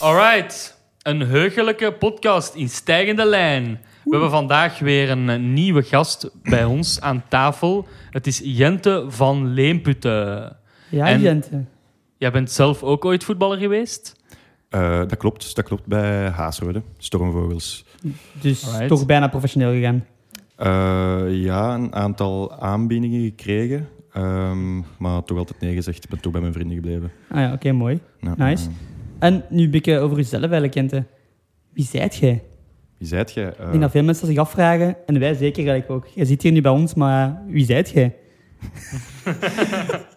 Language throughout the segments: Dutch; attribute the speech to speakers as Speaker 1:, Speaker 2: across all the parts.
Speaker 1: Alright, een heugelijke podcast in stijgende lijn. We hebben vandaag weer een eh, nieuwe gast bij ons aan tafel. Het is Jente van Leemputten.
Speaker 2: Ja,
Speaker 1: En-
Speaker 2: Jente.
Speaker 1: Jij bent zelf ook ooit voetballer geweest?
Speaker 3: Eh, dat klopt, dat klopt bij Haasrode, Stormvogels.
Speaker 2: Dus
Speaker 1: Alright.
Speaker 2: toch bijna professioneel gegaan.
Speaker 3: Eh, ja, een aantal aanbiedingen gekregen, ehm, maar toch altijd nee gezegd. Ik ben toch bij mijn vrienden gebleven.
Speaker 2: Ah ja, oké, mooi.
Speaker 3: Ja,
Speaker 2: Nice.
Speaker 3: eh,
Speaker 2: En nu bikken over jezelf eigenlijk, Jente. Wie zijt jij?
Speaker 3: wie zijt jij?
Speaker 2: Ik
Speaker 3: Eh,
Speaker 2: denk dat veel mensen zich afvragen, en wij zeker eigenlijk ook. Je zit hier nu bij ons, maar wie zijt jij?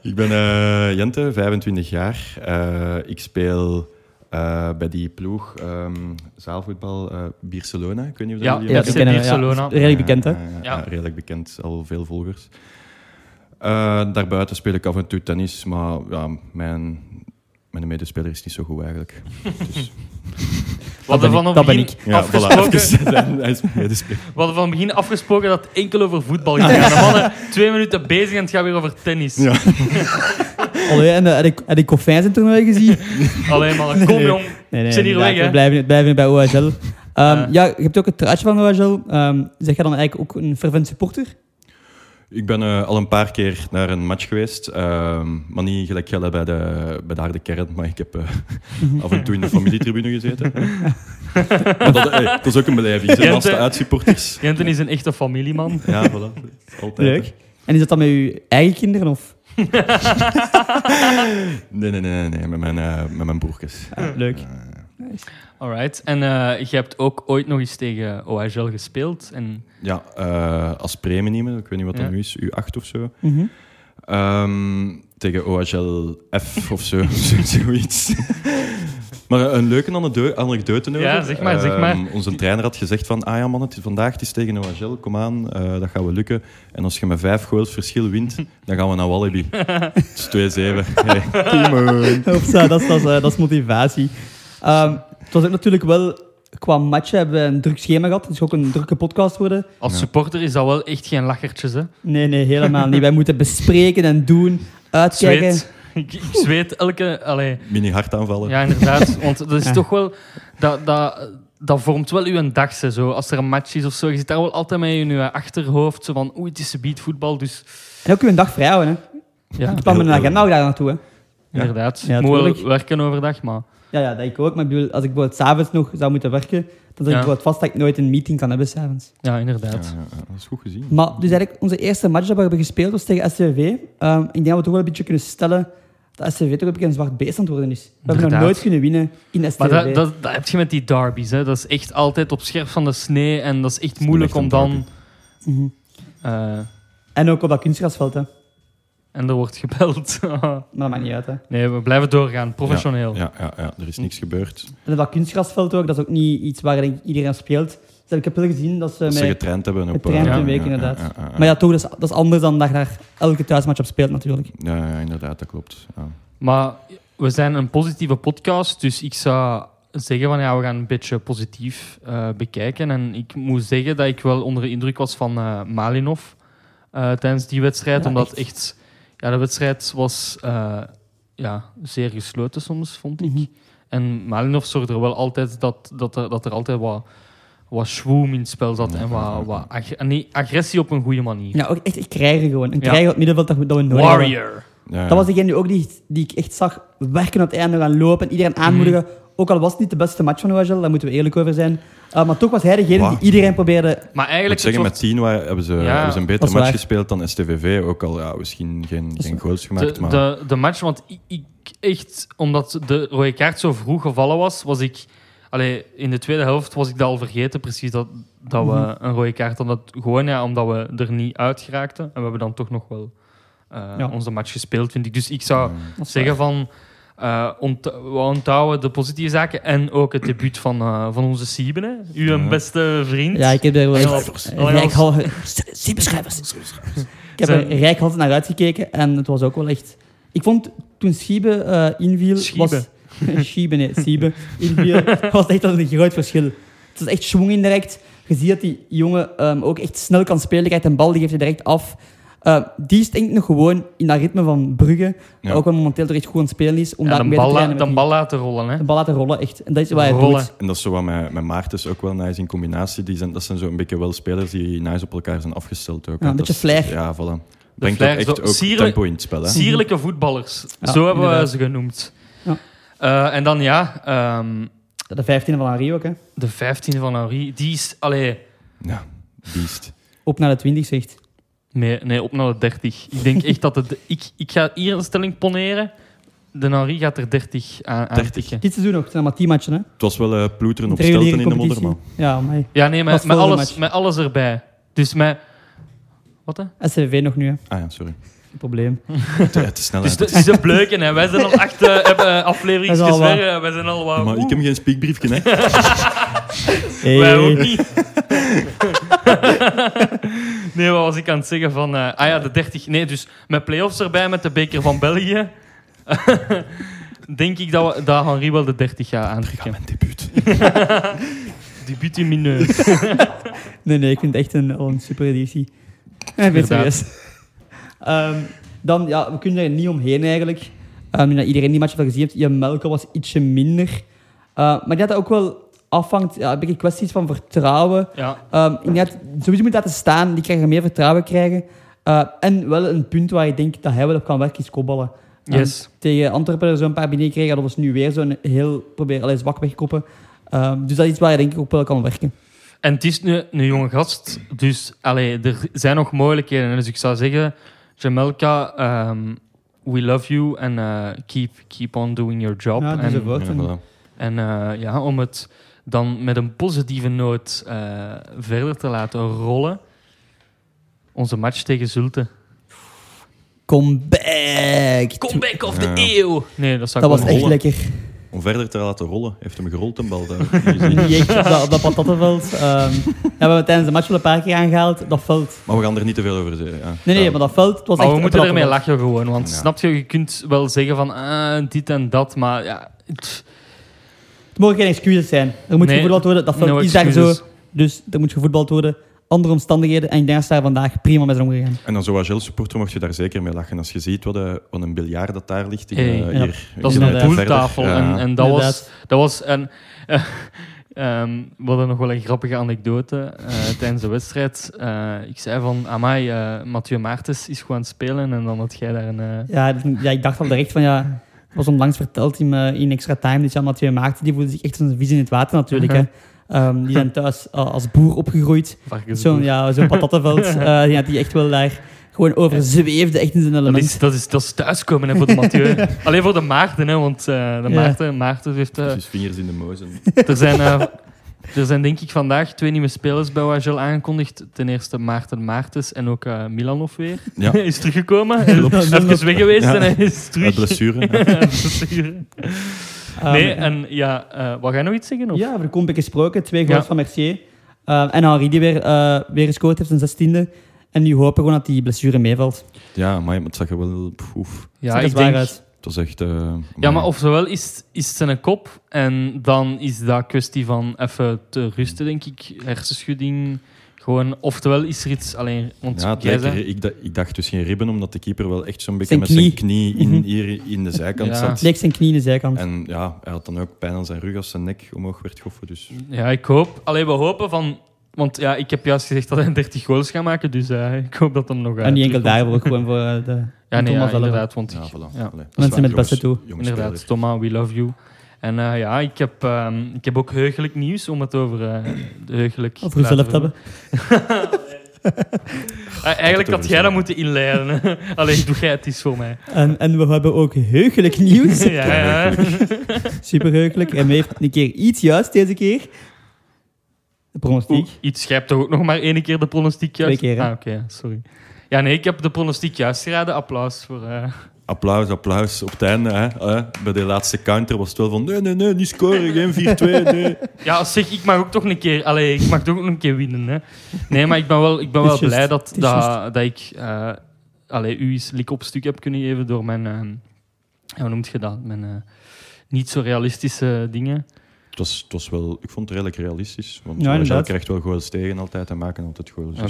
Speaker 3: Ik ben eh, Jente, 25 jaar. Eh, ik speel eh, bij die ploeg ehm, zaalvoetbal eh Barcelona. Ik weet niet of
Speaker 1: Ja,
Speaker 3: jullie
Speaker 1: ja,
Speaker 3: hem
Speaker 1: FC
Speaker 2: die kennen we, ja.
Speaker 1: Barcelona.
Speaker 2: Redelijk bekend, hè?
Speaker 3: Ja, ja, ja,
Speaker 1: Ja.
Speaker 3: Eh, redelijk bekend. Al veel volgers. Eh, daarbuiten speel ik af en toe tennis, maar ja, mijn, mijn medespeler is niet zo goed eigenlijk. Dus,
Speaker 1: We hadden
Speaker 2: ben
Speaker 1: van
Speaker 2: ik-
Speaker 1: het
Speaker 2: dat ben
Speaker 1: begin
Speaker 3: ja, voilà,
Speaker 1: afgesproken-
Speaker 3: even zijn- hij is mijn medespeler.
Speaker 1: we hadden van het begin afgesproken dat het enkel over voetbal ging. gaan. De mannen twee minuten bezig en het gaat weer over tennis.
Speaker 3: Ja.
Speaker 2: Allee, en eh, had ik- had ik koffijn zijn toernooi gezien?
Speaker 1: Alleen maar, kom
Speaker 2: Nee.
Speaker 1: jong.
Speaker 2: Nee, nee,
Speaker 1: Zit hier
Speaker 2: inderdaad,
Speaker 1: weg, hè?
Speaker 2: we blijven, we blijven bij OHL. Ehm,
Speaker 1: Ja.
Speaker 2: Ja, je hebt ook het truitje van OHL. Ehm zeg jij dan eigenlijk ook een fervent supporter?
Speaker 3: Ik ben eh, al een paar keer naar een match geweest, ehm, maar niet gelijk Gelle bij de, bij de harde kern, maar ik heb eh, af en toe in de familietribune gezeten. Want dat, eh, dat is ook een beleving, ze zijn
Speaker 1: Jente-
Speaker 3: vaste uitsupporters.
Speaker 1: Jenten is een echte familieman.
Speaker 3: Ja, voilà. Altijd. hè.
Speaker 2: Leuk. En is dat dan met je eigen kinderen? Of?
Speaker 3: Nee, nee, nee, nee, nee, met mijn, eh, met mijn broertjes.
Speaker 1: Hmm.
Speaker 2: Ah, leuk.
Speaker 1: Alright. En eh, je hebt ook ooit nog eens tegen OHL gespeeld. En
Speaker 3: Ja, eh, als premie nemen, ik weet niet wat dat
Speaker 1: Ja.
Speaker 3: nu is, U8 of zo.
Speaker 1: Hmm.
Speaker 2: Mhm.
Speaker 3: Ehm, tegen OHL F of zo, zo- zoiets. Maar eh, een leuke anekdo- anekdote nodig.
Speaker 1: Ja, zeg maar, zeg maar.
Speaker 3: onze trainer had gezegd van, ah ja man, het, vandaag het is tegen OHL, kom aan, eh, dat gaat wel lukken. En als je met vijf goals verschil wint, dan gaan we naar Walibi. Het is 2-7. Hey.
Speaker 2: Hopsa, dat, is, dat, is, eh, dat is motivatie. Ehm, het was ook natuurlijk wel, qua matchen hebben we een druk schema gehad. Het is ook een drukke podcast worden.
Speaker 1: als
Speaker 3: Ja.
Speaker 1: supporter is dat wel echt geen lachertjes, hè?
Speaker 2: Nee, nee, helemaal niet. Wij moeten bespreken en doen, uitkijken.
Speaker 1: Zweet. Ik, ik zweet elke... Allee.
Speaker 3: Mini hartaanvallen.
Speaker 1: Ja, inderdaad. Want dat is toch wel... Dat, dat, dat vormt wel uw dag, hè, zo. Als er een match is of zo, je zit daar wel altijd mee in je achterhoofd. Zo van, oei, het is een voetbal, dus...
Speaker 2: En ook uw dag vrij houden. Hè.
Speaker 1: Ja,
Speaker 2: Ik plan met een
Speaker 3: Heel-
Speaker 2: agenda ook daar naartoe. Hè.
Speaker 1: inderdaad.
Speaker 2: Ja,
Speaker 1: Moet wel
Speaker 2: tuurlijk.
Speaker 1: werken overdag, maar...
Speaker 2: Ja, ja, dat ik ook. Maar ik bedoel, als ik bijvoorbeeld s'avonds nog zou moeten werken, dan zit ik bijvoorbeeld vast dat ik nooit een meeting kan hebben s'avonds.
Speaker 1: Ja,
Speaker 3: Ja,
Speaker 1: inderdaad.
Speaker 3: ja, ja, dat is goed gezien.
Speaker 2: Maar dus eigenlijk, onze eerste match dat we hebben gespeeld was tegen SCV. Ehm, ik denk dat we toch wel een beetje kunnen stellen dat SCV toch een beetje een zwart beest aan het worden is. We hebben nog
Speaker 1: Inderdaad.
Speaker 2: nooit kunnen winnen in SCV.
Speaker 1: Maar dat, dat, dat heb je met die derbies, hè. Dat is echt altijd op scherp van de snee en dat is echt moeilijk
Speaker 3: echt een
Speaker 1: om dan...
Speaker 2: Mhm.
Speaker 1: eh,
Speaker 2: En ook op dat kunstgrasveld, hè. Maar
Speaker 1: en er wordt gebeld.
Speaker 2: dat maakt niet uit, hè.
Speaker 1: nee, we blijven doorgaan. Professioneel.
Speaker 3: Ja, ja, ja, er is niks gebeurd.
Speaker 2: En op dat kunstgrasveld ook, dat is ook niet iets waar denk ik, iedereen speelt. Dus ik heb wel gezien dat ze...
Speaker 3: Dat ze
Speaker 2: met-
Speaker 3: getraind hebben. Op,
Speaker 2: getraind
Speaker 3: eh,
Speaker 2: een week, inderdaad. Maar ja, toch, dat is, dat is anders dan dat je daar elke thuismatch op speelt, natuurlijk.
Speaker 3: Ja, ja, inderdaad, dat klopt. Ja.
Speaker 1: Maar we zijn een positieve podcast, dus ik zou zeggen van ja, we gaan een beetje positief eh, bekijken. En ik moet zeggen dat ik wel onder de indruk was van eh, Malinov eh, tijdens die wedstrijd,
Speaker 2: Ja,
Speaker 1: omdat echt.
Speaker 2: echt.
Speaker 1: ja, de wedstrijd was eh, ja, zeer gesloten soms, vond ik.
Speaker 2: Mhm.
Speaker 1: En Malinov zorgde er wel altijd dat, dat, er, dat er altijd wat, wat schwoem in het spel zat en wat, wat ag- nee, agressie op een goede manier.
Speaker 2: Ja, ook echt, echt krijgen gewoon. Een
Speaker 1: Ja.
Speaker 2: krijger op het middenveld dat we, dat we nodig hebben.
Speaker 1: Warrior.
Speaker 3: Ja, ja.
Speaker 2: Dat was degene die ook die, die ik echt zag werken aan het einde, gaan lopen en iedereen aanmoedigen. Ook al was het niet de beste match van Oagel, daar moeten we eerlijk over zijn. Uh, maar toch was hij degene
Speaker 3: Waar?
Speaker 2: die iedereen probeerde...
Speaker 1: Maar
Speaker 3: Ik
Speaker 1: eigenlijk
Speaker 3: moet zeggen,
Speaker 1: een
Speaker 3: met 10 waren- hebben ze,
Speaker 1: Ja,
Speaker 3: hebben ze
Speaker 2: dat
Speaker 3: een beter
Speaker 2: is
Speaker 3: match
Speaker 2: waar.
Speaker 3: gespeeld dan STVV. Ook al ja, misschien geen, geen goals gemaakt.
Speaker 1: de,
Speaker 3: maar
Speaker 1: de, de match, want ik, ik echt, omdat de rode kaart zo vroeg gevallen was, was ik. Allee, in de tweede helft was ik dat al vergeten, precies dat, dat
Speaker 3: Mhm.
Speaker 1: we een rode kaart hadden. Gewoon ja, omdat we er niet uit geraakten. En we hebben dan toch nog wel eh,
Speaker 2: Ja.
Speaker 1: onze match gespeeld, vind ik. Dus ik zou
Speaker 3: Mm. Mhm.
Speaker 2: Dat is
Speaker 1: zeggen van. eh ont we onthouden de positieve zaken en ook het debuut van, eh, van onze Siebene, uw
Speaker 3: Ja.
Speaker 1: beste vriend.
Speaker 2: Ja, ik heb er wel
Speaker 1: Heel
Speaker 2: echt
Speaker 1: anders.
Speaker 2: een
Speaker 1: Heel
Speaker 2: rijk
Speaker 1: anders.
Speaker 2: hal- Siebeschrijvers. Ik heb er
Speaker 1: Zijn-
Speaker 2: rijk hals naar uitgekeken en het was ook wel echt... Ik vond toen Schiebe eh, inviel...
Speaker 1: Schiebe.
Speaker 2: Was... Schiebe, nee. Schiebe inviel. was echt al een groot verschil. Het is echt schwung indirect. Je ziet dat die jongen ehm, ook echt snel kan spelen. Hij krijgt een bal, die geeft hij direct af. Eh, die is denk ik nog gewoon in dat ritme van Brugge,
Speaker 3: Ja.
Speaker 2: ook wel momenteel er echt goed aan het spelen is, om
Speaker 1: En
Speaker 2: daar
Speaker 1: dan
Speaker 2: mee te
Speaker 1: bal, la-
Speaker 2: trainen
Speaker 1: dan
Speaker 2: met die-
Speaker 1: bal laten rollen, hè.
Speaker 2: de bal laten rollen, echt. En dat is wat hij
Speaker 1: Rollen.
Speaker 2: doet.
Speaker 3: En dat is zo wat met, met Maarten is ook wel nice in combinatie. Die zijn, dat zijn zo een beetje wel spelers die nice op elkaar zijn afgesteld. Ook,
Speaker 2: Ja, een
Speaker 3: Dat
Speaker 2: beetje
Speaker 3: is-
Speaker 2: flair.
Speaker 3: Ja, voilà. Brengt
Speaker 1: flair,
Speaker 3: ook echt
Speaker 1: zo
Speaker 3: ook
Speaker 1: sierlijk-
Speaker 3: tempo in het spel. Hè?
Speaker 1: Sierlijke voetballers.
Speaker 2: Ja,
Speaker 1: Zo hebben we
Speaker 2: inderdaad.
Speaker 1: ze genoemd.
Speaker 2: Ja.
Speaker 1: Eh, en dan ja, ehm,
Speaker 2: De 15 van Henri ook, hè.
Speaker 1: de 15e van Henri. Die is, allee,
Speaker 3: Ja, beest.
Speaker 2: Op naar de 20, zegt.
Speaker 1: nee, nee, op naar de 30. Ik denk echt dat het... Ik, ik ga hier een stelling poneren. De Henri gaat er 30 aan, aan
Speaker 3: 30.
Speaker 1: tikken.
Speaker 2: Dit seizoen nog, het zijn maar 10 matchen, hè.
Speaker 3: Het was wel eh, ploeteren op
Speaker 2: Reguliere
Speaker 3: stelten in de modder,
Speaker 2: competitie.
Speaker 3: maar
Speaker 2: Ja, maar
Speaker 1: Ja, nee,
Speaker 2: Dat
Speaker 1: met,
Speaker 2: is
Speaker 1: met,
Speaker 2: volgende
Speaker 1: alles,
Speaker 2: match.
Speaker 1: met alles erbij. Dus met... Wat, hè?
Speaker 2: SCV nog nu, hè.
Speaker 3: Ah ja, sorry.
Speaker 2: Geen probleem.
Speaker 3: Het, het is snel.
Speaker 1: Dus
Speaker 3: uit.
Speaker 1: het is een bleuken, hè. Wij zijn al acht eh, heb- eh, afleveringen
Speaker 2: Dat is al waar.
Speaker 1: gezwerven. Wij zijn al wat...
Speaker 3: Maar ik heb geen speakbriefje, hè.
Speaker 2: Hey.
Speaker 1: Wij ook niet. nee, wat was ik aan het zeggen van... eh, ah ja, de 30... Nee, dus met play-offs erbij, met de beker van België... denk ik dat, we, dat Henri wel de 30 jaar
Speaker 3: Ja,
Speaker 1: aantikken.
Speaker 3: mijn debuut.
Speaker 1: Debuut in mineur.
Speaker 2: Nee, nee, ik vind het echt een, al een super editie. Ja, Ik ben
Speaker 1: Inderdaad.
Speaker 2: serieus. Ehm, dan, ja, we kunnen er niet omheen eigenlijk. Ehm, nu dat iedereen die match wel gezien heeft, Ian Melko was ietsje minder. Eh, maar die had ook wel afhangt, ja, een beetje kwesties van vertrouwen.
Speaker 1: Ja,
Speaker 2: Ehm, inderdaad, sowieso moet laten staan, die krijgen meer vertrouwen krijgen. Eh, en wel een punt waar ik denk dat hij wel op kan werken, is kopballen. Ehm,
Speaker 1: yes.
Speaker 2: tegen Antwerpen er zo'n paar binnen gekregen, dat was nu weer zo'n heel probeer alleen zwak wegkoppen. Ehm, dus dat is iets waar je denk ik ook wel kan werken.
Speaker 1: En het is nu een jonge gast, dus allee, er zijn nog mogelijkheden. Dus ik zou zeggen, Jamelka, ehm, we love you en eh, keep, keep on doing your job.
Speaker 2: Ja, dus
Speaker 1: en
Speaker 2: een woord.
Speaker 3: Ja, voilà.
Speaker 1: en eh, ja, om het dan met een positieve noot eh, verder te laten rollen. Onze match tegen Zulte.
Speaker 2: Comeback!
Speaker 1: Comeback of the
Speaker 3: Ja.
Speaker 1: eeuw! Nee, dat zou
Speaker 2: Dat
Speaker 1: ik wel
Speaker 2: was echt
Speaker 1: rollen.
Speaker 3: rollen.
Speaker 2: lekker.
Speaker 3: Om verder te laten rollen, heeft hem gerold een bal. daar. Niet gezien.
Speaker 2: Niet echt op dat, op dat patattenveld. Ehm, ja, we hebben tijdens de match wel een paar keer aangehaald. Dat veld.
Speaker 3: Maar we gaan er niet te veel over zeggen. Ja.
Speaker 2: Nee, nee,
Speaker 3: Ja.
Speaker 2: maar dat veld het was
Speaker 1: Maar
Speaker 2: echt...
Speaker 1: we moeten
Speaker 2: een
Speaker 1: ermee
Speaker 2: plattenveld.
Speaker 1: lachen gewoon. Want
Speaker 3: Ja.
Speaker 1: snap je, je kunt wel zeggen van ah, dit en dat, maar ja... het-
Speaker 2: Het mogen geen excuses zijn. Er moet
Speaker 1: Nee,
Speaker 2: gevoetbald worden. Dat veld
Speaker 1: no
Speaker 2: is daar zo.
Speaker 1: excuses.
Speaker 2: Dus er moet gevoetbald worden. Andere omstandigheden. En ik denk dat ze daar vandaag prima mee zijn omgegaan.
Speaker 3: En dan zo als supporter mocht je daar zeker mee lachen. Als je ziet wat, eh, wat een biljart dat daar ligt. in,
Speaker 1: Hey,
Speaker 3: eh,
Speaker 1: ja.
Speaker 3: hier,
Speaker 1: Dat is
Speaker 3: een
Speaker 1: een
Speaker 2: Inderdaad.
Speaker 1: poeltafel. En, en dat
Speaker 2: Inderdaad.
Speaker 1: was... Dat was en, eh, ehm, we hadden nog wel een grappige anekdote eh, tijdens de wedstrijd. Eh, ik zei van, amai, eh Mathieu Maartens is gewoon aan het spelen. En dan had jij daar een... eh,
Speaker 2: Ja, dat- ja, ik dacht al direct van ja... Het was onlangs verteld in, eh, in Extra Time. Dus ja, Mathieu Maarten, die voelde zich echt als een vis in het water natuurlijk. Hè.
Speaker 1: Uh-huh.
Speaker 2: Ehm, die zijn thuis eh, als boer opgegroeid.
Speaker 1: varkensboer.
Speaker 2: Zo'n ja, zo'n patattenveld. eh, ja, die echt wel daar gewoon over zweefde, echt in zijn
Speaker 1: Dat
Speaker 2: element.
Speaker 1: is, dat, is, dat is thuiskomen hè, voor de Mathieu. Alleen voor de Maarten, hè, want eh, de
Speaker 2: Ja.
Speaker 1: Maarten, Maarten heeft... eh,
Speaker 3: precies vingers in de mozen.
Speaker 1: er, zijn, eh, er zijn denk ik vandaag twee nieuwe spelers bij Wagel aangekondigd. Ten eerste Maarten Maartens en ook eh, Milanov weer.
Speaker 3: Ja,
Speaker 1: Hij is teruggekomen. Hij is even weg geweest
Speaker 3: Ja.
Speaker 1: en hij is
Speaker 3: uit
Speaker 1: terug.
Speaker 3: blessure. ja.
Speaker 1: Blessure.
Speaker 2: Ehm,
Speaker 1: nee, en ja, eh wat ga je nog iets zeggen? Of?
Speaker 2: Ja, over de comeback gesproken. Twee goals
Speaker 1: Ja.
Speaker 2: van Mercier. Eh, en Henri die weer, eh, weer gescoord heeft, zijn zestiende. En nu hopen we gewoon dat die blessure meevalt.
Speaker 3: Ja, maar het zag er wel... Poef.
Speaker 1: ja
Speaker 2: Ziet er
Speaker 1: ik
Speaker 2: zwaar
Speaker 1: denk,
Speaker 2: uit.
Speaker 3: Het was echt... eh,
Speaker 1: ja, maar ofwel is, is het zijn kop en dan is dat kwestie van even te rusten, denk ik. Hersenschudding, gewoon. Oftewel is er iets alleen. Want
Speaker 3: Ja, het
Speaker 1: jij
Speaker 3: lijkt
Speaker 1: zei-
Speaker 3: er- ik, da- ik dacht dus geen ribben, omdat de keeper wel echt zo'n beetje
Speaker 2: Zijn
Speaker 3: met
Speaker 2: knie.
Speaker 3: zijn knie in, hier in de zijkant
Speaker 1: Mhm. Ja.
Speaker 3: zat.
Speaker 2: Het leek zijn knie in de zijkant.
Speaker 3: En ja, hij had dan ook pijn aan zijn rug als zijn nek omhoog werd geofferd. Dus
Speaker 1: Ja, ik hoop. Alleen we hopen van. Want ja, ik heb juist gezegd dat hij 30 goals gaat maken, dus eh, ik hoop dat dat nog. eh,
Speaker 2: en niet enkel
Speaker 1: terugkomt.
Speaker 2: daarvoor, ook gewoon voor eh, de
Speaker 1: Ja, nee,
Speaker 2: Thomas
Speaker 1: ja,
Speaker 2: zelf.
Speaker 1: inderdaad. Want
Speaker 3: ja,
Speaker 1: ik-
Speaker 3: voilà.
Speaker 1: ja.
Speaker 3: Allee, dat is
Speaker 2: Mensen
Speaker 3: waar,
Speaker 2: met het beste
Speaker 3: jongens-
Speaker 2: toe.
Speaker 3: jongens
Speaker 1: Inderdaad,
Speaker 3: spelers.
Speaker 1: Thomas, we love you. En eh, ja, ik heb, ehm, ik heb ook heugelijk nieuws om het over eh de heugelijk...
Speaker 2: Of we zelf
Speaker 1: laten-
Speaker 2: te hebben.
Speaker 1: Eh, eigenlijk had jij dat moeten inleiden. hè. Alleen, doe jij het eens voor mij.
Speaker 2: En, en we hebben ook heugelijk nieuws.
Speaker 1: ja, ja.
Speaker 2: Superheugelijk. En we heeft een keer iets juist deze keer. De pronostiek.
Speaker 1: Oeh, Iets, jij hebt toch ook nog maar één keer de pronostiek juist?
Speaker 2: Twee keer, hè?
Speaker 1: Ah, oké, sorry. Ja, nee, ik heb de pronostiek juist geraden. Applaus voor... eh,
Speaker 3: Applaus, applaus. Op het einde, hè, hè, bij de laatste counter was het wel van nee, nee, nee, niet scoren, geen 4-2, nee.
Speaker 1: Ja, zeg, ik mag ook toch een keer... Allee, ik mag toch ook een keer winnen, hè. Nee, maar ik ben wel, ik ben
Speaker 2: Het
Speaker 1: wel
Speaker 2: is juist,
Speaker 1: blij dat,
Speaker 2: het is
Speaker 1: dat, dat ik... eh allee, u eens lik op stuk heb kunnen geven door mijn... eh, ja, hoe noemt je dat? Mijn eh, niet zo realistische dingen.
Speaker 3: Het was, het was wel, ik vond het redelijk realistisch. Want
Speaker 2: Ja,
Speaker 3: Rangel
Speaker 2: inderdaad.
Speaker 3: krijgt wel goals tegen altijd en maken altijd goals.
Speaker 1: Oké.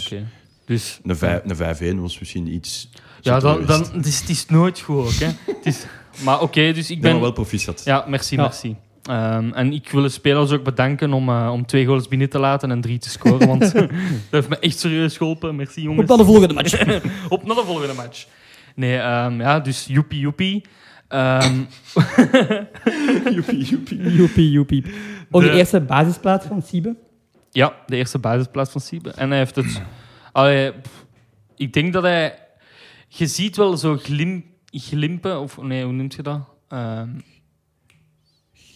Speaker 3: Dus
Speaker 1: Dus
Speaker 3: Een vijf- een 5-1 was misschien iets.
Speaker 1: ja, dan,
Speaker 3: subtieler
Speaker 1: dan,
Speaker 3: geweest.
Speaker 1: het, is, het is nooit goed ook. Hè. Het is, maar oké, dus ik
Speaker 3: Nee, maar
Speaker 1: ben...
Speaker 3: wel proficiat.
Speaker 1: Ja, merci,
Speaker 2: Ja.
Speaker 1: merci. Ehm, en ik wil de spelers ook bedanken om, eh, om twee goals binnen te laten en drie te scoren. Want dat heeft me echt serieus geholpen. Merci, jongens.
Speaker 2: Op naar de volgende match.
Speaker 1: Op naar de volgende match. Nee, ehm, ja, dus joepie joepie. Ehm,
Speaker 3: Joepie, joepie.
Speaker 2: Joepie, joepie. Ook de
Speaker 1: De-
Speaker 2: eerste basisplaats van Siebe.
Speaker 1: ja, de eerste basisplaats van Siebe. En hij heeft het... Allee, pff, ik denk dat hij... Je ziet wel zo glim, glimpen, of nee, hoe noemt je dat? Ehm,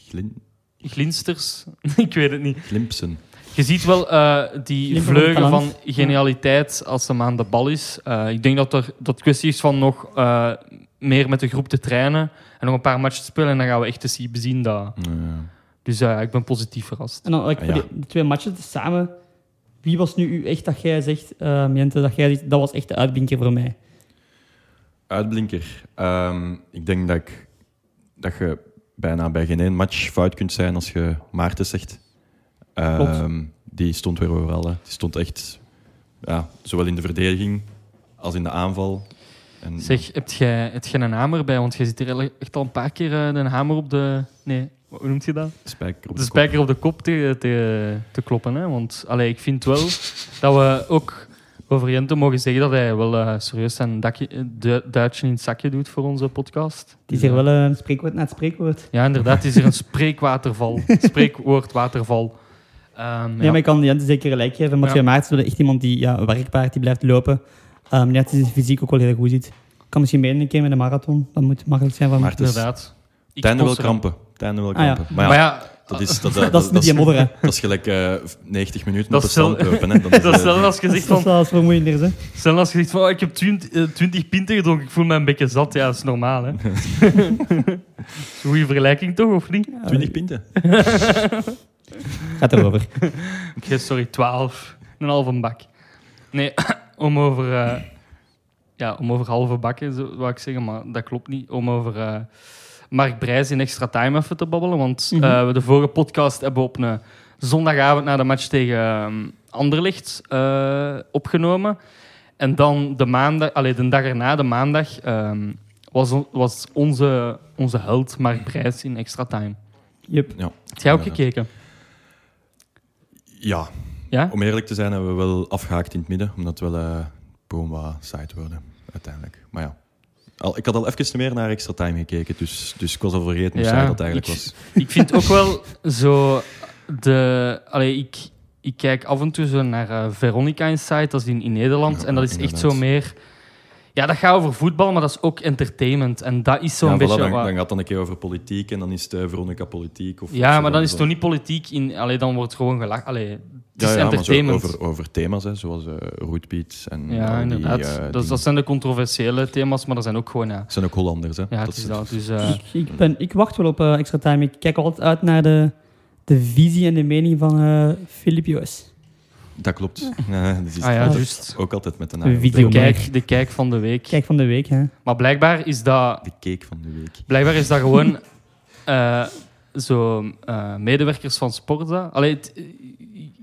Speaker 3: Glin-
Speaker 1: glinsters? ik weet het niet.
Speaker 3: Glimpsen.
Speaker 1: Je ziet wel eh, die
Speaker 2: Glimp van
Speaker 1: vleugel van
Speaker 2: talent.
Speaker 1: genialiteit als hem aan de bal is. Eh, ik denk dat er dat kwestie is van nog eh, meer met de groep te trainen en nog een paar matchen te spelen. En dan gaan we echt te zien bezien dat.
Speaker 3: Ja.
Speaker 1: Dus eh, ik ben positief verrast.
Speaker 2: En dan like,
Speaker 3: Ah,
Speaker 2: voor
Speaker 3: ja.
Speaker 2: die- die twee matchen samen. Wie was nu u echt dat jij zegt, eh Jente, dat jij zegt, dat was echt de uitblinker voor mij?
Speaker 3: Uitblinker. Ehm, ik denk dat, ik, dat je bijna bij geen één match fout kunt zijn als je Maarten zegt. Ehm, die stond weer overal. Hè. Die stond echt ja, zowel in de verdediging als in de aanval. En,
Speaker 1: Zeg, heb jij, heb jij een hamer bij? Want jij zit hier echt al een paar keer eh, een hamer op de. Nee, hoe noemt je dat?
Speaker 3: spijker
Speaker 1: de
Speaker 3: op de kop.
Speaker 1: spijker op de kop te, te, te kloppen. Hè? Want allee, ik vind wel dat we ook over Jente mogen zeggen dat hij wel eh, serieus zijn dakje, eh, du- duitje in het zakje doet voor onze podcast.
Speaker 2: Het is hier wel een spreekwoord na het spreekwoord.
Speaker 1: Ja, inderdaad, het is hier een spreekwaterval. Spreekwoordwaterval. Ehm,
Speaker 2: Nee,
Speaker 1: ja.
Speaker 2: maar ik kan Jente zeker gelijk geven. Mathieu
Speaker 1: Ja.
Speaker 2: Maartens is wel echt iemand die ja, werkbaar, die blijft lopen. Um, net is fysiek ook wel heel goed ziet. Kan misschien mee een keer met een marathon. Dat moet makkelijk zijn van...
Speaker 3: Maarten, is-
Speaker 1: inderdaad. Ik
Speaker 3: tijden wel
Speaker 1: sponsor hem.
Speaker 3: Dus krampen. Tijden wel
Speaker 2: Ah, ja.
Speaker 3: krampen. Maar ja,
Speaker 1: Maar ja,
Speaker 3: dat is... Dat,
Speaker 2: dat is met die modder, hè.
Speaker 3: dat is gelijk eh, 90 minuten
Speaker 1: Dat
Speaker 3: op
Speaker 1: is
Speaker 3: de
Speaker 1: wel-
Speaker 3: stand lopen. hè. Dan is,
Speaker 1: dat is
Speaker 3: eh,
Speaker 1: zelfs als je
Speaker 2: Dat
Speaker 1: zegt
Speaker 2: is wel
Speaker 1: van,
Speaker 2: eens vermoeiender, hè.
Speaker 1: zelfs als je zegt van oh, ik heb 20, eh, 20 pinten gedronken, ik voel me een beetje zat. Ja, dat is normaal. Hè? Goeie vergelijking toch, of niet?
Speaker 3: 20 pinten.
Speaker 2: Gaat erover.
Speaker 1: Oké, sorry, 12. Een halve bak. Nee, om over, eh, ja, om over halve bakken, zo wou ik zeggen, maar dat klopt niet. Om over eh, Mark Brijs in extra time even te babbelen. Want
Speaker 2: Mhm.
Speaker 1: eh, we de vorige podcast hebben we op een zondagavond na de match tegen ehm, Anderlecht eh, opgenomen. En dan de, maandag, allee, de dag erna, de maandag, ehm, was, on- was onze, onze held Mark Brijs in extra time.
Speaker 2: Yep.
Speaker 1: Heb jij ook
Speaker 3: Inderdaad.
Speaker 1: gekeken?
Speaker 3: Ja,
Speaker 1: Ja?
Speaker 3: om eerlijk te zijn hebben we wel afgehaakt in het midden, omdat we wel eh boom wat saai worden uiteindelijk. Maar ja, al, ik had al even meer naar extra time gekeken, dus, dus ik was al vergeten hoe
Speaker 1: Ja,
Speaker 3: saai dat eigenlijk
Speaker 1: ik-
Speaker 3: was.
Speaker 1: Ik vind ook wel zo de. Allee, ik, ik kijk af en toe zo naar eh, Veronica Insight, dat is in, in Nederland.
Speaker 3: Ja,
Speaker 1: en dat is echt
Speaker 3: inderdaad.
Speaker 1: zo meer. Ja, dat gaat over voetbal, maar dat is ook entertainment. En dat is zo'n
Speaker 3: Ja, voilà,
Speaker 1: beetje.
Speaker 3: dan,
Speaker 1: wat-
Speaker 3: dan gaat het dan een keer over politiek en dan is het eh, Veronica politiek. Of
Speaker 1: ja,
Speaker 3: of
Speaker 1: maar dan is
Speaker 3: zo.
Speaker 1: het toch niet politiek in. Allee, dan wordt gewoon gelachen. Allee, het
Speaker 3: Ja,
Speaker 1: is
Speaker 3: ja, maar zo
Speaker 1: entertainment.
Speaker 3: over, over thema's, hè, zoals eh rootbeats en al
Speaker 1: ja,
Speaker 3: die,
Speaker 1: inderdaad.
Speaker 3: eh,
Speaker 1: dat,
Speaker 3: dingen.
Speaker 1: dat zijn de controversiële thema's, maar dat zijn ook gewoon. Ja,
Speaker 3: Het zijn ook Hollanders, hè.
Speaker 1: ja het
Speaker 3: Dat
Speaker 1: is
Speaker 3: is-
Speaker 1: dat. Dus, eh,
Speaker 2: Ik, ik ben, ik wacht wel op eh, extra time. Ik kijk altijd uit naar de, de visie en de mening van eh Filip Joos.
Speaker 3: dat klopt. Ja, dat is
Speaker 1: ah ja,
Speaker 2: dat-
Speaker 1: juist.
Speaker 3: Ook altijd met de
Speaker 2: Een
Speaker 3: naam.
Speaker 2: video.
Speaker 1: De
Speaker 3: De,
Speaker 2: Jongen.
Speaker 1: kijk, de kijk van de week.
Speaker 2: Kijk van de week, hè.
Speaker 1: Maar blijkbaar is dat
Speaker 3: de cake van de week.
Speaker 1: Blijkbaar is dat gewoon eh, zo eh, medewerkers van Sporza. Allee, het-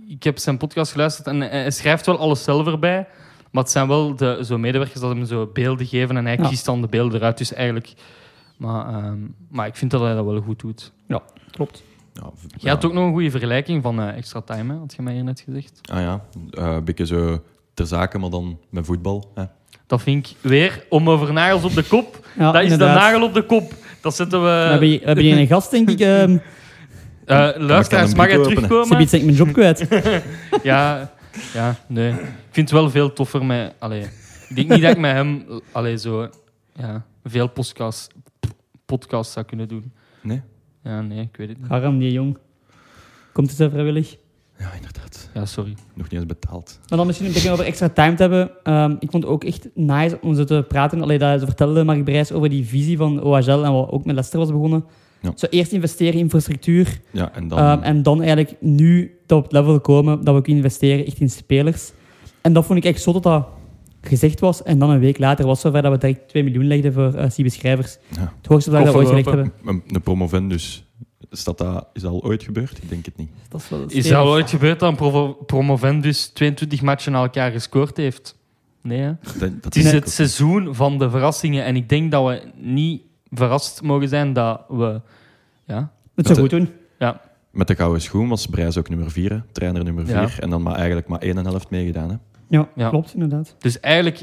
Speaker 1: ik heb zijn podcast geluisterd en hij schrijft wel alles zelf erbij. Maar het zijn wel de, zo medewerkers dat hem zo beelden geven en hij
Speaker 2: Ja.
Speaker 1: kiest dan de beelden eruit. Dus eigenlijk... Maar, ehm, maar ik vind dat hij dat wel goed doet.
Speaker 2: Klopt.
Speaker 3: Ja, v-
Speaker 1: Je
Speaker 3: ja.
Speaker 1: had ook nog een goede vergelijking van eh, Extra Time, hè, had je mij hier net gezegd.
Speaker 3: Ah ja, eh, een beetje zo ter zake, maar dan met voetbal. Hè.
Speaker 1: Dat vind ik weer om over nagels op de kop.
Speaker 2: Ja,
Speaker 1: dat is
Speaker 2: inderdaad.
Speaker 1: de nagel op de kop. Dat zetten
Speaker 2: We hebben
Speaker 1: we...
Speaker 2: hier- we hebben hier een gast, denk ik. ehm
Speaker 1: eh luisteraars, mag
Speaker 3: brief
Speaker 1: hij
Speaker 3: openen.
Speaker 1: terugkomen?
Speaker 2: Sabiet, ben ik mijn job kwijt.
Speaker 1: Ja, ja, nee. Ik vind het wel veel toffer met... Allee, ik denk niet dat ik met hem allee, zo, ja, veel podcasts, podcasts zou kunnen doen.
Speaker 3: Nee?
Speaker 1: Ja, nee, ik weet het niet.
Speaker 2: Haram, die jong. Komt het zo vrijwillig?
Speaker 3: Ja, inderdaad.
Speaker 1: Ja, sorry.
Speaker 3: Nog niet eens betaald.
Speaker 2: Maar dan misschien een beetje over extra time te hebben. Ehm, ik vond het ook echt nice om zo te praten. Alleen dat ze vertelde, Mark Brijs, over die visie van OHL en wat ook met Leicester was begonnen.
Speaker 3: Ja.
Speaker 2: Zo eerst investeren in infrastructuur
Speaker 3: Ja, en dan...
Speaker 2: ehm, en dan eigenlijk nu dat we op het level komen dat we kunnen investeren echt in spelers. En dat vond ik echt zo dat dat gezegd was. En dan een week later was het zover dat we direct 2 miljoen legden voor eh CB Schrijvers.
Speaker 3: ja,
Speaker 2: Het hoogste bedrag dat we ooit
Speaker 1: Koffer
Speaker 2: gelegd hebben.
Speaker 3: een, een promovendus. dus Is dat, dat, is dat al ooit gebeurd? Ik denk het niet.
Speaker 2: Dat eh, is wel
Speaker 1: Is dat ooit gebeurd dat een provo- promovendus 22 matchen na elkaar gescoord heeft? Nee, hè?
Speaker 3: Dat, dat
Speaker 1: Het is
Speaker 3: denk ik
Speaker 1: het
Speaker 3: ook.
Speaker 1: seizoen van de verrassingen. En ik denk dat we niet verrast mogen zijn dat we... Ja,
Speaker 2: Dat zou goed doen.
Speaker 3: Met de gouden schoen was Brijs ook nummer 4, trainer nummer 4.
Speaker 1: Ja.
Speaker 3: En dan maar eigenlijk maar 1,5 meegedaan. Hè.
Speaker 2: Ja,
Speaker 1: Ja.
Speaker 2: klopt inderdaad.
Speaker 1: dus eigenlijk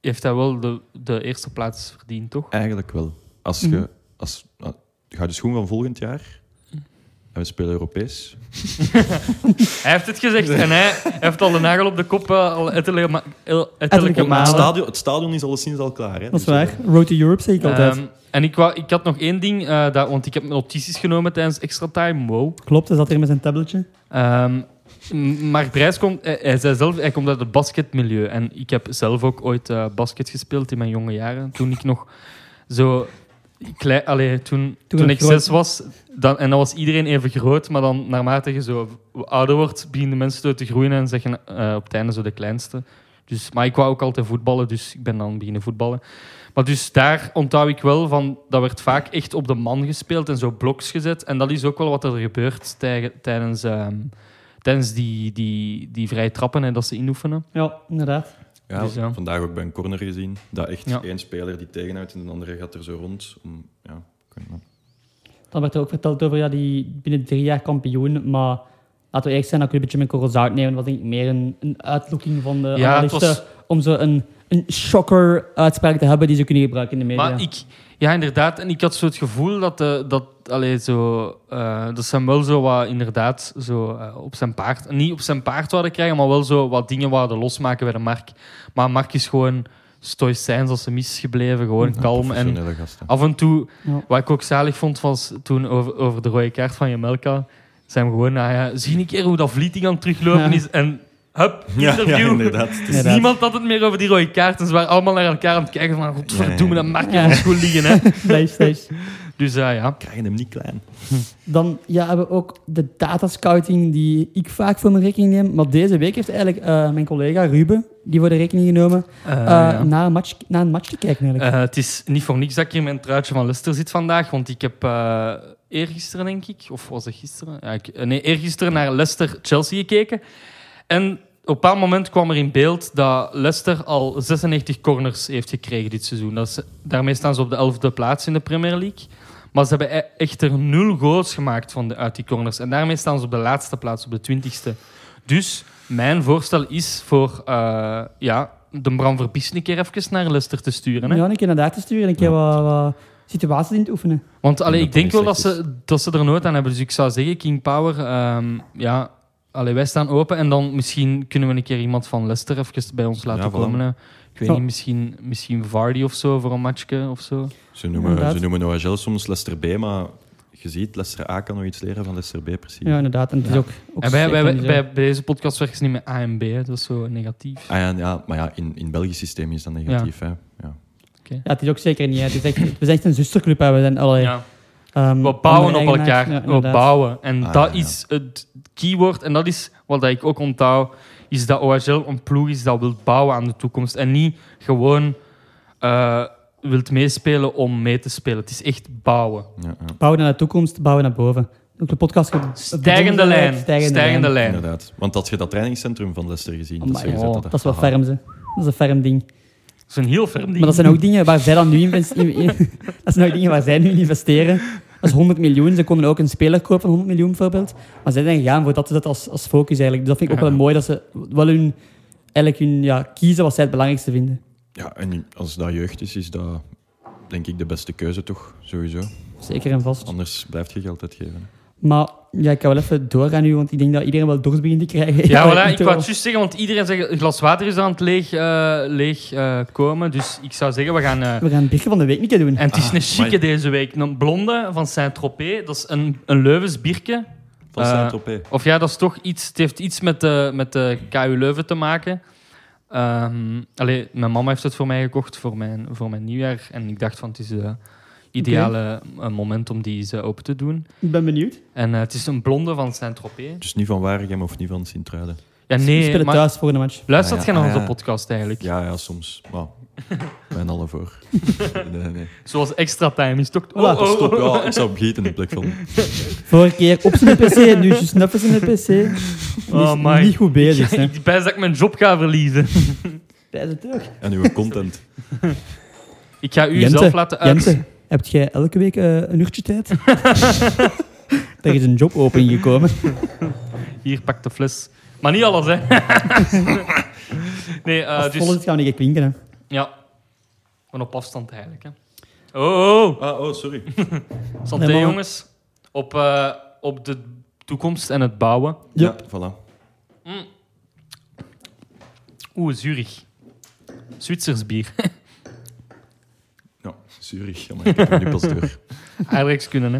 Speaker 1: heeft hij wel de, de eerste plaats verdiend, toch?
Speaker 3: Eigenlijk wel. Als
Speaker 2: Mhm.
Speaker 3: je als, nou, de gouden schoen van volgend jaar. En we spelen Europees.
Speaker 1: Hij heeft het gezegd en hij heeft al de nagel op de kop eh, al ettelijke ma- el- ettelijke
Speaker 2: Ettelijke
Speaker 3: Het
Speaker 1: malen.
Speaker 3: stadion, het stadion is alleszins al klaar. Hè?
Speaker 2: Ah, Dat is
Speaker 3: Dus,
Speaker 2: waar. Road to Europe zeg ik altijd.
Speaker 1: Ehm, en ik, wou, ik had nog één ding, eh, dat, want ik heb mijn notities genomen tijdens extra time. Wow.
Speaker 2: Klopt, hij zat er met zijn tabletje.
Speaker 1: Ehm, m- maar Brijs komt, eh, hij, hij zei zelf, hij komt uit het basketmilieu. En ik heb zelf ook ooit eh, basket gespeeld in mijn jonge jaren. Toen ik nog zo klein, allee, toen, toen,
Speaker 2: het
Speaker 1: ik
Speaker 2: groot-
Speaker 1: zes was, dan, en dan was iedereen even groot. Maar dan naarmate je zo ouder wordt, beginnen mensen zo te groeien en zeggen eh, op het einde zo de kleinste. Dus, maar ik wou ook altijd voetballen, dus ik ben dan beginnen voetballen. Maar dus daar onthoud ik wel van, dat werd vaak echt op de man gespeeld en zo bloks gezet. En dat is ook wel wat er gebeurt tij- tijdens, ehm, tijdens die, die, die vrije trappen en dat ze inoefenen.
Speaker 2: Ja, inderdaad.
Speaker 3: ja,
Speaker 1: Dus ja.
Speaker 3: Vandaag ook bij een corner gezien. Dat echt
Speaker 1: Ja.
Speaker 3: één speler die tegenuit en de andere gaat er zo rond. Om, ja, ik weet niet.
Speaker 2: Dan werd er ook verteld over ja, die binnen drie jaar kampioen. Maar laten we eerlijk zijn, dat kun je een beetje met korrels zout nemen. Dat was denk ik meer een, een uitlokking van de
Speaker 1: Ja, het
Speaker 2: analisten
Speaker 1: was-
Speaker 2: om zo een, een shocker uitspraak te hebben die ze kunnen gebruiken in de media.
Speaker 1: Maar ik, ja, inderdaad. En ik had zo het gevoel dat, de, dat allee, zo, eh, dat ze hem wel zo wat inderdaad zo, eh, op zijn paard, niet op zijn paard wilden krijgen, maar wel zo wat dingen wilden losmaken bij de Mark. Maar Mark is gewoon stoïcijns als ze mis is gebleven, gewoon kalm. En
Speaker 3: Professionele gasten.
Speaker 1: af en toe,
Speaker 2: Ja.
Speaker 1: wat ik ook zalig vond, was toen over, over de rode kaart van Jamelka, zijn we gewoon, nou ja, zie een keer hoe dat Vlieting aan het teruglopen
Speaker 2: Ja.
Speaker 1: is. En hup,
Speaker 3: Ja,
Speaker 1: interview.
Speaker 3: ja, inderdaad. Het is-
Speaker 1: Dus
Speaker 2: Inderdaad.
Speaker 1: niemand had het meer over die rode kaart. En ze waren allemaal naar elkaar aan het kijken. Van, godverdomme,
Speaker 3: Ja,
Speaker 1: dat
Speaker 3: ja,
Speaker 1: mag je aan school liggen. Hè.
Speaker 2: Blijf, blijf.
Speaker 1: Dus eh, ja.
Speaker 3: We krijgen hem niet klein.
Speaker 2: Dan ja, hebben we ook de datascouting die ik vaak voor mijn rekening neem. Maar deze week heeft eigenlijk eh, mijn collega Ruben, die wordt de rekening genomen,
Speaker 1: Eh,
Speaker 2: eh
Speaker 1: ja.
Speaker 2: naar, een match, naar een match te kijken eigenlijk.
Speaker 1: Eh, het is niet voor niks dat ik hier in mijn truitje van Leicester zit vandaag. Want ik heb eh eergisteren, denk ik, of was het gisteren? Ja, ik, eh, nee, eergisteren naar Leicester-Chelsea gekeken. En op een bepaald moment kwam er in beeld dat Leicester al 96 corners heeft gekregen dit seizoen. Dat is, daarmee staan ze op de 11e plaats in de Premier League. Maar ze hebben e- echter nul goals gemaakt van de, uit die corners. En daarmee staan ze op de laatste plaats, op de 20ste. Dus mijn voorstel is voor eh, ja, de Bram Verbies een keer even naar Leicester te sturen. Eh, Hè?
Speaker 2: Ja, een keer naar daar te sturen en een keer wat, wat situaties in te oefenen.
Speaker 1: Want allee,
Speaker 3: dat
Speaker 1: ik denk
Speaker 3: dat
Speaker 1: wel
Speaker 3: niet
Speaker 1: dat
Speaker 3: slecht
Speaker 1: ze, dat ze er nood aan hebben. Dus ik zou zeggen, King Power, ehm, ja, allee, wij staan open. En dan misschien kunnen we een keer iemand van Leicester even bij ons laten
Speaker 3: Ja, voilà.
Speaker 1: komen. hè. Ik weet
Speaker 2: Ja.
Speaker 1: niet, misschien, misschien Vardy of zo voor een matchje of zo.
Speaker 3: Ze noemen,
Speaker 2: Inderdaad.
Speaker 3: ze noemen OHL soms Leicester B, maar je ziet, Leicester A kan nog iets leren van Leicester B precies.
Speaker 2: Ja, inderdaad. En het is
Speaker 1: Ja.
Speaker 2: ook, ook
Speaker 1: en wij, wij,
Speaker 2: zeker
Speaker 1: wij-
Speaker 2: niet zo-
Speaker 1: bij, bij deze podcast werken ze niet met AMB, hè. dat is zo negatief.
Speaker 3: Ah ja, ja, maar ja, in, in Belgisch systeem is dat negatief. Hè? Ja.
Speaker 2: Ja, het is ook zeker niet. hè. Het is echt, het is echt een zusterclub. hè. We zijn
Speaker 3: Ah,
Speaker 2: allerlei.
Speaker 1: Ja.
Speaker 2: ehm,
Speaker 1: We bouwen
Speaker 2: andere
Speaker 1: op
Speaker 2: eigenaars.
Speaker 1: elkaar.
Speaker 2: Ja,
Speaker 1: we
Speaker 2: inderdaad.
Speaker 1: bouwen. En
Speaker 3: Ah,
Speaker 1: dat
Speaker 3: ja, ja.
Speaker 1: is het keyword. En dat is wat ik ook onthoud. Is dat OHL een ploeg is dat wil bouwen aan de toekomst. En niet gewoon eh, wilt meespelen om mee te spelen. Het is echt bouwen.
Speaker 3: Ja, ja.
Speaker 2: Bouwen naar de toekomst, bouwen naar boven. Ook de podcast. ge- eh,
Speaker 1: Stijgende lijn. Stijgende, lijn.
Speaker 3: Inderdaad. Want had je dat trainingscentrum van Leicester gezien?
Speaker 2: Amai,
Speaker 3: dat ze gezet
Speaker 1: oh,
Speaker 3: hadden.
Speaker 2: Dat is wel
Speaker 3: Aha.
Speaker 2: ferm, ze. Dat is een ferm ding.
Speaker 1: Dat is een heel ferm ding.
Speaker 2: Maar dat zijn ook dingen waar zij dan nu in investeren. dat zijn ook dingen waar zij nu in investeren. Dat is 100 miljoen. Ze konden ook een speler kopen van 100 miljoen bijvoorbeeld. Maar zij zijn gegaan voor dat ze dat als, als focus eigenlijk. Dus dat vind ik ook wel mooi dat ze wel hun, eigenlijk hun ja, kiezen wat zij het belangrijkste vinden.
Speaker 3: Ja, en als dat jeugd is, is dat denk ik de beste keuze toch? Sowieso.
Speaker 2: Zeker en vast.
Speaker 3: Anders blijft je geld uitgeven.
Speaker 2: Maar ja, ik ga wel even doorgaan nu, want ik denk dat iedereen wel dorst begint te krijgen.
Speaker 1: Ja,
Speaker 2: maar
Speaker 1: voilà, ik
Speaker 2: niet
Speaker 1: wou
Speaker 2: wel.
Speaker 1: het juist zeggen, want iedereen zegt een glas water is aan het leeg, eh, leeg eh, komen. Dus ik zou zeggen, we gaan... eh,
Speaker 2: We gaan het biertje van de week niet doen.
Speaker 1: en het is
Speaker 3: Ah,
Speaker 1: een chique
Speaker 3: amai.
Speaker 1: deze week. Een blonde van Saint-Tropez. Dat is een, een Leuvens bierke.
Speaker 3: Van
Speaker 1: Eh,
Speaker 3: Saint-Tropez.
Speaker 1: Of ja, dat is toch iets. Het heeft iets met de, met de KU Leuven te maken. Ehm allee, mijn mama heeft het voor mij gekocht voor mijn, voor mijn nieuwjaar. En ik dacht van het is het ideale eh, moment om die eens eh, open te doen.
Speaker 2: Ik ben benieuwd.
Speaker 1: En eh, het is een blonde van Saint-Tropez.
Speaker 3: Dus niet van Waregem of niet van Sint-Truiden.
Speaker 1: Ja,
Speaker 2: we
Speaker 1: nee,
Speaker 2: spelen
Speaker 1: maar
Speaker 2: thuis voor de match.
Speaker 1: luistert
Speaker 3: Ah
Speaker 1: je
Speaker 3: ja,
Speaker 1: naar
Speaker 3: ah
Speaker 1: onze
Speaker 3: ja.
Speaker 1: podcast eigenlijk?
Speaker 3: Ja, ja, soms. Maar Mijn alle voor. nee, nee.
Speaker 1: Zoals extra time is toch... Oh,
Speaker 2: Voilà.
Speaker 1: oh, oh.
Speaker 3: Stop, ja, ik zou begieten in plek van.
Speaker 2: Vorige keer op zijn PC, nu is je snuffers in de PC. Die is
Speaker 1: Oh, my.
Speaker 2: niet goed bezig. hè.
Speaker 1: Ik ben best dat ik mijn job ga verliezen.
Speaker 2: Bij de deur.
Speaker 3: En uw content.
Speaker 1: Ik ga u
Speaker 2: Jente,
Speaker 1: zelf laten uit.
Speaker 2: Jente, heb jij elke week eh, een uurtje tijd? Daar is een job open gekomen.
Speaker 1: Hier, pak de fles. Maar niet alles, hè. nee, eh,
Speaker 2: Als het vol
Speaker 1: dus...
Speaker 2: is, gaan we niet klinken. Hè.
Speaker 1: Ja. Van op afstand eigenlijk, hè. Oh, oh.
Speaker 3: Ah, oh, sorry.
Speaker 1: Santé,
Speaker 2: Nee, maar-
Speaker 1: jongens. Op, eh, op de toekomst en het bouwen.
Speaker 3: Ja, voilà.
Speaker 1: Oeh, Zurich. Zwitsers bier.
Speaker 3: Ja, Zurich. Ja, maar ik heb er nu pas door.
Speaker 1: Eigenlijk kunnen, hè.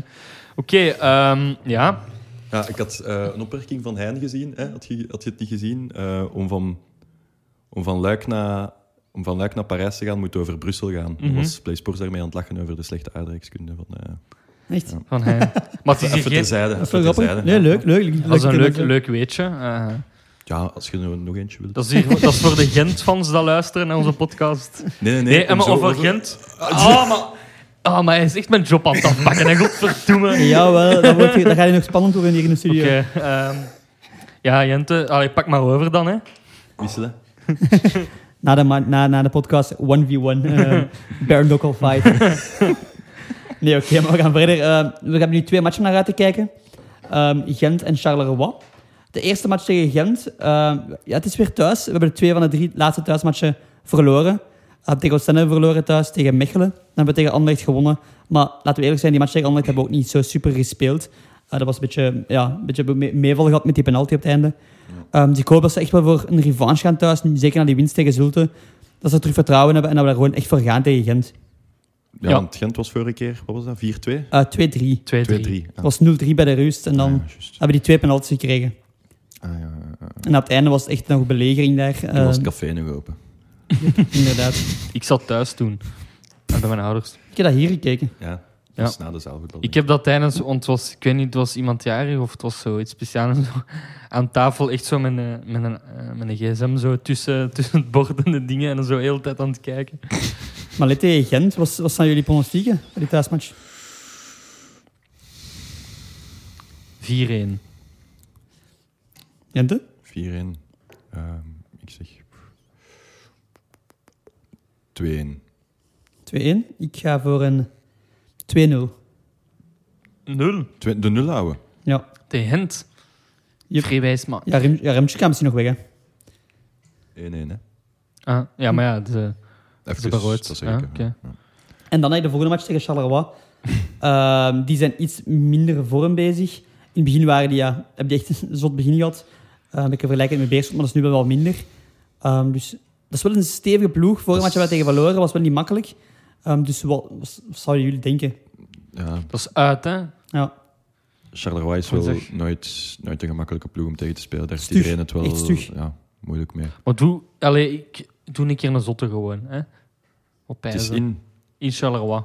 Speaker 1: Oké, ehm, ja.
Speaker 3: Ja, ik had eh, een opmerking van Hein gezien. Hè? Had, je, had je het niet gezien? Eh, om, van, om, van Luik naar, om van Luik naar Parijs te gaan, moet je over Brussel gaan. Dan
Speaker 1: Mhm.
Speaker 3: was PlaySports daarmee aan het lachen over de slechte aardrijkskunde. Van, eh,
Speaker 2: Echt.
Speaker 1: Van hij. Maar het is hier
Speaker 3: even
Speaker 1: geen...
Speaker 3: terzijde.
Speaker 2: Dat is
Speaker 3: even
Speaker 2: wel grappig.
Speaker 3: terzijde.
Speaker 2: Nee, leuk, leuk. leuk
Speaker 1: Dat is een leuk,
Speaker 2: leuk-
Speaker 1: leuk weetje. eh.
Speaker 3: Ja, als je er nog eentje wilt.
Speaker 1: dat, is hier, dat is voor de Gent-fans dat luisteren naar onze podcast.
Speaker 3: Nee, nee, nee.
Speaker 1: Nee,
Speaker 3: om
Speaker 1: Emma
Speaker 3: zo
Speaker 1: over Gent. Ah, maar... Ah, maar hij is echt mijn job aan het afpakken, hè. Godverdomme.
Speaker 2: Jawel, dat, wordt, dat ga je nog spannend worden hier in de studio.
Speaker 1: Oké, ehm, ja, Jente, allee, pak maar over dan. Hè.
Speaker 3: Wisselen.
Speaker 2: Na, de, ma- na, na de podcast 1v1 eh Baron fight. nee, oké, maar we gaan verder. Eh, we hebben nu twee matchen naar uit te kijken. Ehm, Gent en Charleroi. De eerste match tegen Gent. ehm, ja, het is weer thuis. We hebben de twee van de drie laatste thuismatchen verloren. We hebben tegen Oostende verloren thuis, tegen Mechelen. Dan hebben we tegen Anderlecht gewonnen. Maar laten we eerlijk zijn, die match tegen Anderlecht hebben we ook niet zo super gespeeld. Eh, dat was een beetje, ja, een beetje me- meeval gehad met die penalty op het einde. Ehm, dus ik hoop dat ze echt wel voor een revanche gaan thuis. Zeker na die winst tegen Zulte. Dat ze terug vertrouwen hebben en dat we daar gewoon echt voor gaan tegen Gent.
Speaker 3: Ja,
Speaker 1: Ja.
Speaker 3: want Gent was vorige keer, wat was dat? 4-2? 2-3.
Speaker 2: Eh 2-3.
Speaker 1: Twee, drie.
Speaker 3: Ah.
Speaker 2: Het was 0-3 bij de rust en dan
Speaker 3: Ah, ja, juist.
Speaker 2: hebben die twee penalties gekregen.
Speaker 3: Ah, ja, ja, ja.
Speaker 2: En aan het einde was het echt nog belegering daar.
Speaker 1: Eh,
Speaker 3: Toen was
Speaker 2: Ehm,
Speaker 3: het café nog open.
Speaker 2: inderdaad.
Speaker 1: Ik zat thuis toen. Ah, Bij mijn ouders.
Speaker 2: Ik heb dat hier gekeken.
Speaker 3: Ja, dat
Speaker 1: Ja.
Speaker 3: was na de zaalvoetbal.
Speaker 1: Ik heb dat tijdens, want het was, ik weet niet, het was iemand jarig of het was zoiets speciaals. en zo, Aan tafel echt zo met een, met een, eh, met een gsm zo tussen, tussen het bord en de dingen en dan zo heel de tijd aan het kijken.
Speaker 2: Maar let tegen Gent, wat was zijn jullie pronostieken voor die thuismatch?
Speaker 1: 4-1.
Speaker 2: Gente?
Speaker 3: 4-1. Ehm, ik zeg... 2-1.
Speaker 2: 2-1. Ik ga voor een 2-0.
Speaker 1: 0.
Speaker 3: Twee- De nul houden.
Speaker 2: Ja.
Speaker 1: De Hent.
Speaker 2: Yep.
Speaker 1: Vreewijs, maar.
Speaker 2: Ja, Rem, ja, Remtje kan misschien nog weg, hè.
Speaker 3: 1-1, hè.
Speaker 1: Ah, ja, maar ja, de,
Speaker 3: Even,
Speaker 1: de Baroid.
Speaker 3: dat zeg ik
Speaker 1: Ah,
Speaker 3: even.
Speaker 1: oké.
Speaker 2: En dan heb je de volgende match tegen Charleroi. Ehm, die zijn iets minder vorm bezig. In het begin waren die, ja, heb die echt een zot begin gehad. Ehm, ik vergelijk het met Beerschot, maar dat is nu wel wat minder. Ehm, dus dat is wel een stevige ploeg. Vorige
Speaker 3: Dat
Speaker 2: match
Speaker 3: is-
Speaker 2: hebben we tegen verloren, was wel niet makkelijk. Ehm, dus wat, wat zouden jullie denken?
Speaker 3: Ja,
Speaker 1: Dat is uit, hè?
Speaker 2: Ja,
Speaker 3: Charleroi is wel
Speaker 1: Woensdag.
Speaker 3: nooit, nooit een gemakkelijke ploeg om tegen te spelen. Daar heeft
Speaker 2: Stug.
Speaker 3: iedereen het wel
Speaker 2: Echt stug.
Speaker 3: ja, moeilijk mee.
Speaker 1: Maar doe, allee, ik, doe een keer een zotte gewoon. Hè? Op
Speaker 3: Het is
Speaker 1: pijzen. In...
Speaker 3: in
Speaker 1: Charleroi.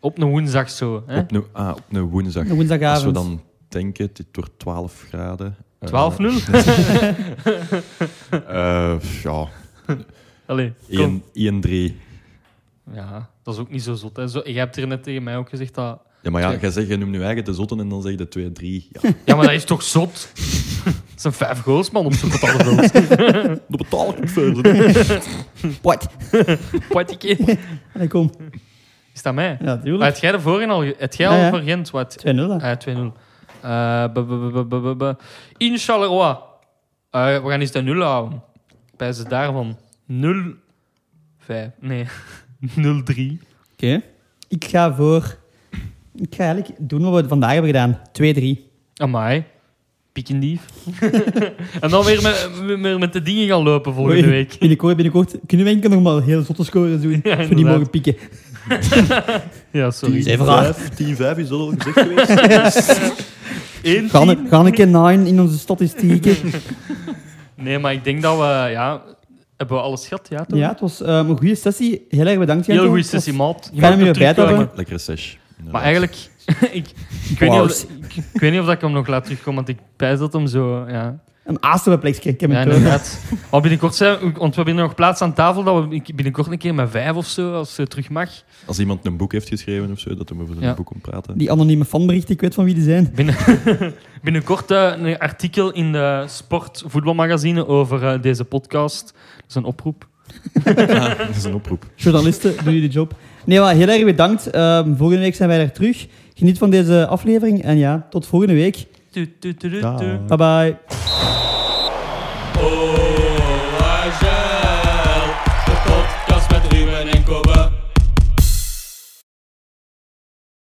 Speaker 1: Op een woensdag zo. Hè?
Speaker 3: op een, ah, op een woensdag.
Speaker 2: een woensdagavond.
Speaker 3: Als we dan denken, dit wordt 12 graden. eh,
Speaker 1: 12-0?
Speaker 3: eh, ja,
Speaker 1: Allee, kom.
Speaker 3: 1-3.
Speaker 1: Ja, dat is ook niet zo zot. Hè? Zo, jij hebt hier net tegen mij ook gezegd dat...
Speaker 3: Ja, maar ja,
Speaker 1: Twee.
Speaker 3: jij zegt, je noemt nu eigen de zotten en dan zeg je de 2-3. Ja,
Speaker 1: Ja, maar dat is toch zot? Het zijn vijf goals, man, op zo'n patattenveld.
Speaker 3: dat betaal ik niet verder.
Speaker 2: Wat?
Speaker 1: Poitier.
Speaker 2: Allee, kom.
Speaker 1: Is dat mij?
Speaker 2: Ja,
Speaker 1: Maar
Speaker 2: tuurlijk.
Speaker 1: had jij de voorin al... ge- Had jij
Speaker 2: Ja, ja.
Speaker 1: al voor Gent wat?
Speaker 2: 2-0 dan.
Speaker 1: Ah, ja, 2-0. Eh, b- b- b- b- b- b- In Charleroi. Eh, we gaan eens de 0 houden. Bij ze daarvan. 0... 5. Nee. 0-3.
Speaker 2: Oké. Ik ga voor... Ik ga eigenlijk doen wat we vandaag hebben gedaan. 2-3.
Speaker 1: Amai. Piekendief. en dan weer met, weer met de dingen gaan lopen volgende
Speaker 2: Oei,
Speaker 1: week.
Speaker 2: Binnenkort, binnenkort kunnen we enkel nog maar heel zotte scores doen. als we die
Speaker 1: inderdaad.
Speaker 2: mogen pieken.
Speaker 1: Ja, sorry.
Speaker 2: Zij vragen.
Speaker 3: 10-5 is dat al gezegd geweest.
Speaker 1: Eén
Speaker 2: Gaan
Speaker 1: team.
Speaker 2: we- Gaan ik een nine in onze statistieken?
Speaker 1: Nee, maar ik denk dat we... Ja, hebben we alles gehad, ja? Toch?
Speaker 2: ja, het was ehm, een goede sessie. Heel erg bedankt.
Speaker 1: Heel
Speaker 2: Jento.
Speaker 1: goede
Speaker 2: Het was-
Speaker 1: sessie, maat. Je
Speaker 2: Fijn
Speaker 1: mag
Speaker 2: om je
Speaker 1: er
Speaker 2: erbij te
Speaker 1: terugkomen.
Speaker 2: hebben.
Speaker 3: Lekkere sesh. inderdaad.
Speaker 1: Maar eigenlijk... ik, ik, weet niet of, ik, ik weet niet of dat ik hem nog laat terugkomen, want ik pijs dat hem zo... Ja.
Speaker 2: Een aastemplekje. Ik heb
Speaker 1: Ja,
Speaker 2: het eh, door.
Speaker 1: inderdaad. Maar binnenkort zijn we, want we hebben hier nog plaats aan tafel dat we binnenkort een keer met vijf of zo, als ze terug mag.
Speaker 3: Als iemand een boek heeft geschreven of zo, dat hem over zijn
Speaker 1: Ja.
Speaker 3: boek komt praten.
Speaker 2: Die anonieme fanberichten, ik weet van wie die zijn.
Speaker 1: Binnen, binnenkort eh, een artikel in de Sport Voetbalmagazine over eh, deze podcast. Dat is een oproep.
Speaker 3: Ah, dat is een oproep.
Speaker 2: Journalisten, doe jullie job. Nee, maar heel erg bedankt. Ehm, volgende week zijn wij er terug. Geniet van deze aflevering en ja, tot volgende week.
Speaker 1: Tu, tu, tu, tu, tu.
Speaker 3: Dag.
Speaker 2: Bye bye.
Speaker 1: Oh.